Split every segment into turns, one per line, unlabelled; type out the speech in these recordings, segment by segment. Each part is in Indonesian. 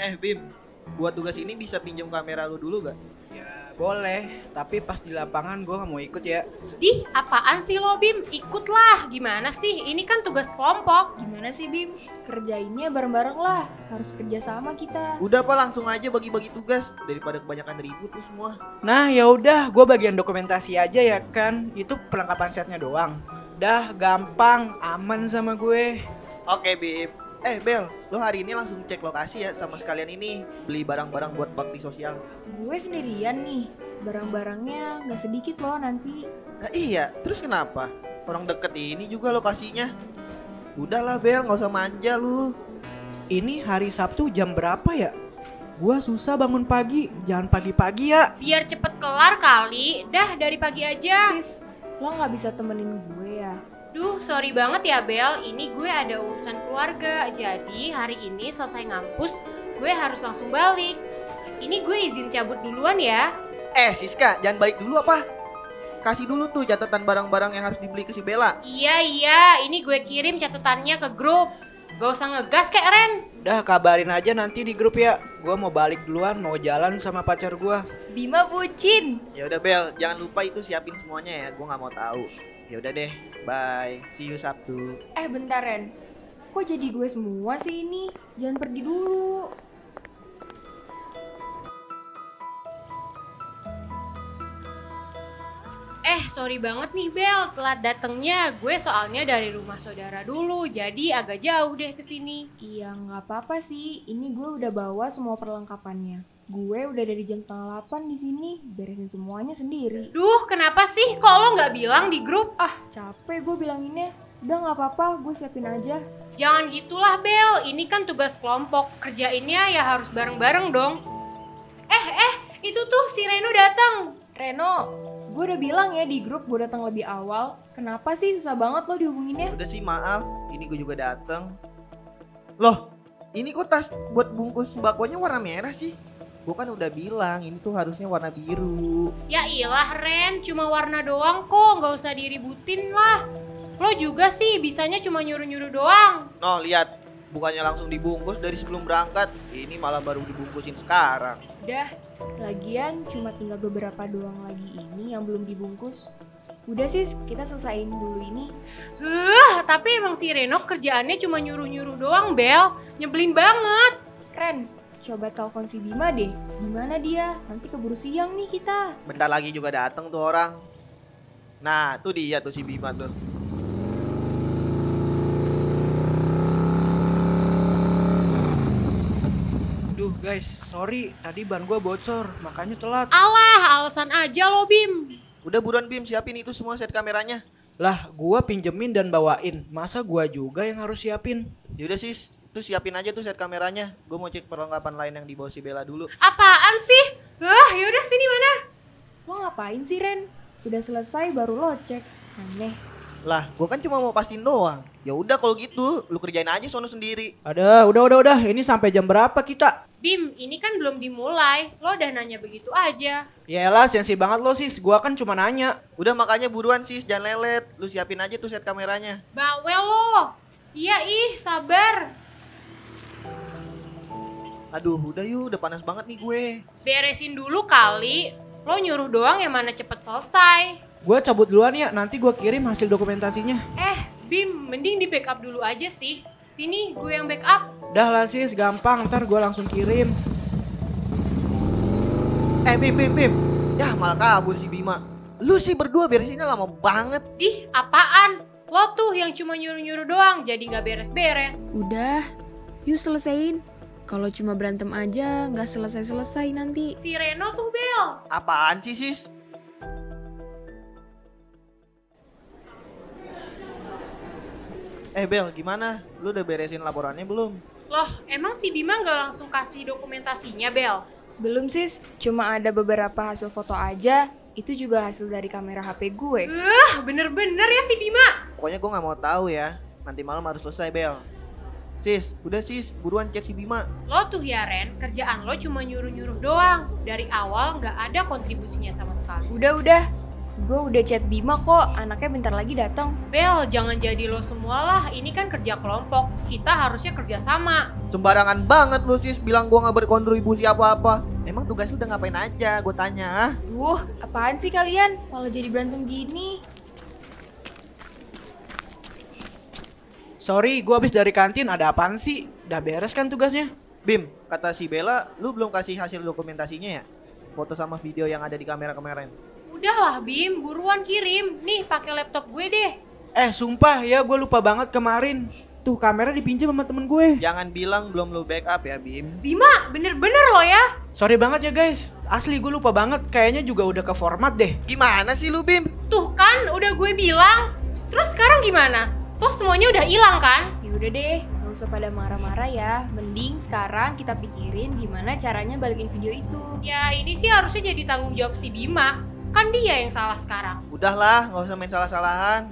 Eh Bim, buat tugas ini bisa pinjam kamera lu dulu gak?
Ya boleh, tapi pas di lapangan gue gak mau ikut ya.
Dih, apaan sih lo Bim? Ikutlah. Gimana sih? Ini kan tugas kelompok.
Gimana sih Bim? Kerjainnya bareng-bareng lah. Harus kerja sama kita.
Udah apa langsung aja bagi-bagi tugas daripada kebanyakan ribut tuh semua.
Nah ya udah, gue bagian dokumentasi aja ya kan. Itu perlengkapan setnya doang. Dah gampang, aman sama gue.
Oke Bim. Eh Bel, lo hari ini langsung cek lokasi ya sama sekalian ini beli barang-barang buat bakti sosial.
Gue sendirian nih. Barang-barangnya nggak sedikit loh nanti.
Nah iya, terus kenapa? Orang deket ini juga lokasinya. Udahlah Bel, nggak usah manja lu.
Ini hari Sabtu jam berapa ya? Gue susah bangun pagi, jangan pagi-pagi ya.
Biar cepet kelar kali. Dah dari pagi aja.
Sis, lo nggak bisa temenin gue ya.
Duh, sorry banget ya Bel. Ini gue ada urusan keluarga. Jadi hari ini selesai ngampus, gue harus langsung balik. Ini gue izin cabut duluan ya.
Eh Siska, jangan balik dulu apa? Kasih dulu tuh catatan barang-barang yang harus dibeli ke si Bella.
Iya iya, ini gue kirim catatannya ke grup. Gak usah ngegas kayak Ren.
Dah kabarin aja nanti di grup ya. Gue mau balik duluan, mau jalan sama pacar gue.
Bima bucin.
Ya udah Bel, jangan lupa itu siapin semuanya ya. Gua nggak mau tahu. Ya udah deh, bye. See you Sabtu.
Eh bentar Ren. Kok jadi gue semua sih ini? Jangan pergi dulu.
Eh, sorry banget nih Bel, telat datangnya. Gue soalnya dari rumah saudara dulu, jadi agak jauh deh ke sini.
Iya nggak apa-apa sih. Ini gue udah bawa semua perlengkapannya. Gue udah dari jam setengah 8 di sini. Beresin semuanya sendiri.
Duh, kenapa sih? Kok lo nggak bilang di grup?
Ah capek gue bilanginnya. Udah nggak apa-apa, gue siapin aja.
Jangan gitulah Bel, ini kan tugas kelompok. Kerjainnya ya harus bareng-bareng dong. Eh, eh, itu tuh si Reno datang.
Reno, gue udah bilang ya di grup gue datang lebih awal. Kenapa sih susah banget lo
Ya
dihubunginnya?
udah sih maaf, ini gue juga dateng. Loh, ini kok tas buat bungkus bakonya warna merah sih? Gue kan udah bilang, ini tuh harusnya warna biru.
Ya ilah Ren, cuma warna doang kok, nggak usah diributin lah. Lo juga sih bisanya cuma nyuruh-nyuruh doang.
Noh, lihat. Bukannya langsung dibungkus dari sebelum berangkat. Ini malah baru dibungkusin sekarang.
Udah, lagian cuma tinggal beberapa doang lagi ini yang belum dibungkus. Udah sis, kita selesaiin dulu ini.
Huh, tapi emang si Reno kerjaannya cuma nyuruh-nyuruh doang, Bel. Nyebelin banget.
Ren, coba telepon si Bima deh. Gimana dia? Nanti keburu siang nih kita.
Bentar lagi juga dateng tuh orang. Nah, tuh dia tuh si Bima tuh.
Duh guys, sorry tadi ban gue bocor, makanya telat.
Alah, alasan aja lo, Bim.
Udah buruan Bim, siapin itu semua set kameranya.
Lah, gua pinjemin dan bawain. Masa gua juga yang harus siapin?
Yaudah Ya sis, tuh siapin aja tuh set kameranya. Gue mau cek perlengkapan lain yang dibawa si Bella dulu.
Apaan sih? Hah, yaudah sini mana?
Lo ngapain sih Ren? Udah selesai baru lo cek. Aneh.
Lah, gue kan cuma mau pastiin doang. Ya udah kalau gitu, lu kerjain aja sono sendiri.
Ada, udah, udah, udah. Ini sampai jam berapa kita?
Bim, ini kan belum dimulai. Lo udah nanya begitu aja.
Yaelah, Ya sensi banget lo sis. Gua kan cuma nanya.
Udah makanya buruan sis, jangan lelet. Lu siapin aja tuh set kameranya.
Bawel lo. Iya ih, sabar.
Aduh, udah yuk, udah panas banget nih gue.
Beresin dulu kali. Lo nyuruh doang yang mana cepet selesai.
Gua cabut duluan ya, nanti gua kirim hasil dokumentasinya.
Eh, Bim, mending di backup dulu aja sih. Sini, gue yang backup.
Dah lah sis, gampang. Ntar gua langsung kirim.
Eh, Bim, Bim, Bim. Yah, Ya, malah kabur si Bima. Lu sih berdua beresinnya lama banget.
Dih, apaan? Lo tuh yang cuma nyuruh-nyuruh doang, jadi nggak beres-beres.
Udah, yuk selesaiin. Kalau cuma berantem aja, nggak selesai-selesai nanti.
Si Reno tuh, Bel.
Apaan sih sis? Eh Bel, gimana? Lu udah beresin laporannya belum?
Loh, emang si Bima nggak langsung kasih dokumentasinya, Bel?
Belum sis, cuma ada beberapa hasil foto aja. Itu juga hasil dari kamera HP gue.
Ah, bener-bener ya si Bima.
Pokoknya gue nggak mau tahu ya. Nanti malam harus selesai Bel. Sis, udah sis, buruan cek si Bima.
Lo tuh ya Ren, kerjaan lo cuma nyuruh-nyuruh doang. Dari awal nggak ada kontribusinya sama sekali.
Udah udah, gue udah chat Bima kok, anaknya bentar lagi datang.
Bel, jangan jadi lo semualah. Ini kan kerja kelompok. Kita harusnya kerja sama.
Sembarangan banget lu sis bilang gua nggak berkontribusi apa-apa. Emang tugas lu udah ngapain aja? Gue tanya. ah.
Duh, apaan sih kalian? Malah jadi berantem gini.
Sorry, gue habis dari kantin ada apaan sih? Udah beres kan tugasnya?
Bim, kata si Bella, lu belum kasih hasil dokumentasinya ya? Foto sama video yang ada di kamera kemarin.
Udahlah Bim, buruan kirim. Nih, pakai laptop gue deh.
Eh sumpah ya gue lupa banget kemarin. Tuh kamera dipinjam sama temen gue.
Jangan bilang belum lu backup ya, Bim.
Bima, bener-bener lo ya.
Sorry banget ya guys. Asli gue lupa banget. Kayaknya juga udah ke format deh.
Gimana sih lu, Bim?
Tuh kan, udah gue bilang. Terus sekarang gimana? Toh semuanya udah hilang kan?
Yaudah Ya deh, gak usah pada marah-marah ya. Mending sekarang kita pikirin gimana caranya balikin video itu.
Ya ini sih harusnya jadi tanggung jawab si Bima. Kan dia yang salah sekarang.
Udahlah, nggak usah main salah-salahan.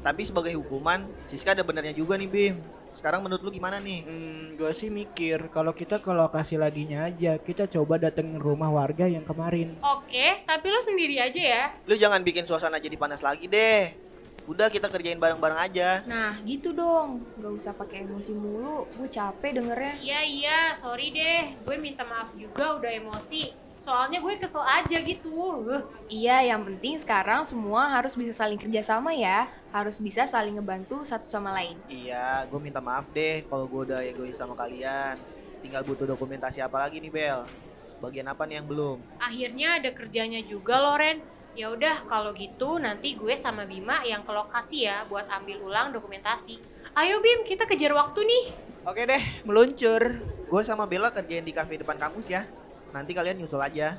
Tapi sebagai hukuman, Siska ada benernya juga nih, Bim. Sekarang menurut lu gimana nih?
Hmm, gue sih mikir kalau kita ke lokasi laginya aja, kita coba datengin rumah warga yang kemarin.
Oke, tapi lo sendiri aja ya.
Lu jangan bikin suasana jadi panas lagi deh. Udah kita kerjain bareng-bareng aja.
Nah gitu dong, gak usah pakai emosi mulu, gue capek dengernya.
Iya iya, sorry deh. Gue minta maaf juga udah emosi. Soalnya gue kesel aja gitu. Huh.
Iya yang penting sekarang semua harus bisa saling kerjasama ya, harus bisa saling ngebantu satu sama lain.
Iya, gue minta maaf deh kalau gue udah egois sama kalian. Tinggal butuh dokumentasi apa lagi nih, Bel? Bagian apa nih yang belum?
Akhirnya ada kerjanya juga Loren. Ya udah kalau gitu nanti gue sama Bima yang ke lokasi ya buat ambil ulang dokumentasi. Ayo Bim, kita kejar waktu nih.
Oke deh, meluncur.
Gue sama Bella kerjain di cafe depan kampus ya. Nanti kalian nyusul aja.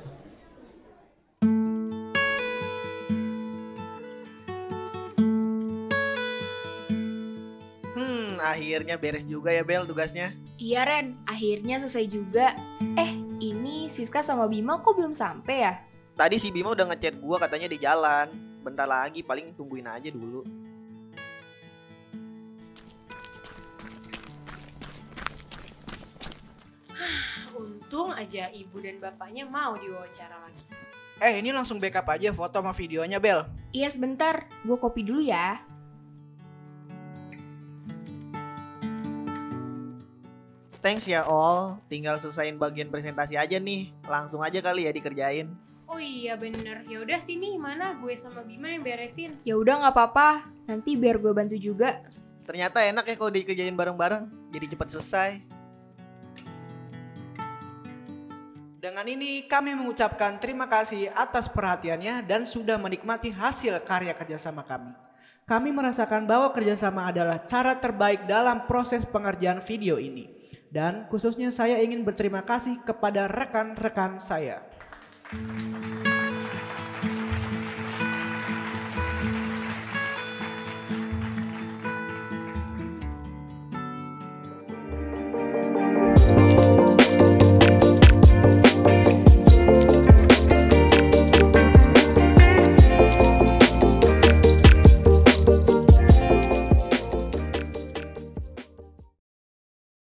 Hmm, akhirnya beres juga ya, Bel, tugasnya.
Iya Ren, akhirnya selesai juga. Eh, ini Siska sama Bima kok belum sampai ya?
Tadi si Bima udah ngechat gue katanya di jalan. Bentar lagi, paling tungguin aja dulu.
Untung aja ibu dan bapaknya mau diwawancara lagi.
Eh, ini langsung backup aja foto sama videonya, Bel.
Iya sebentar, gue kopi dulu ya.
Thanks ya all, tinggal selesain bagian presentasi aja nih. Langsung aja kali ya dikerjain.
Oh iya bener. Ya udah sini mana gue sama Bima yang beresin.
Ya udah nggak apa-apa, nanti biar gue bantu juga.
Ternyata enak ya kalau dikerjain bareng-bareng, jadi cepat selesai.
Dengan ini kami mengucapkan terima kasih atas perhatiannya dan sudah menikmati hasil karya kerjasama kami. Kami merasakan bahwa kerjasama adalah cara terbaik dalam proses pengerjaan video ini. Dan khususnya saya ingin berterima kasih kepada rekan-rekan saya.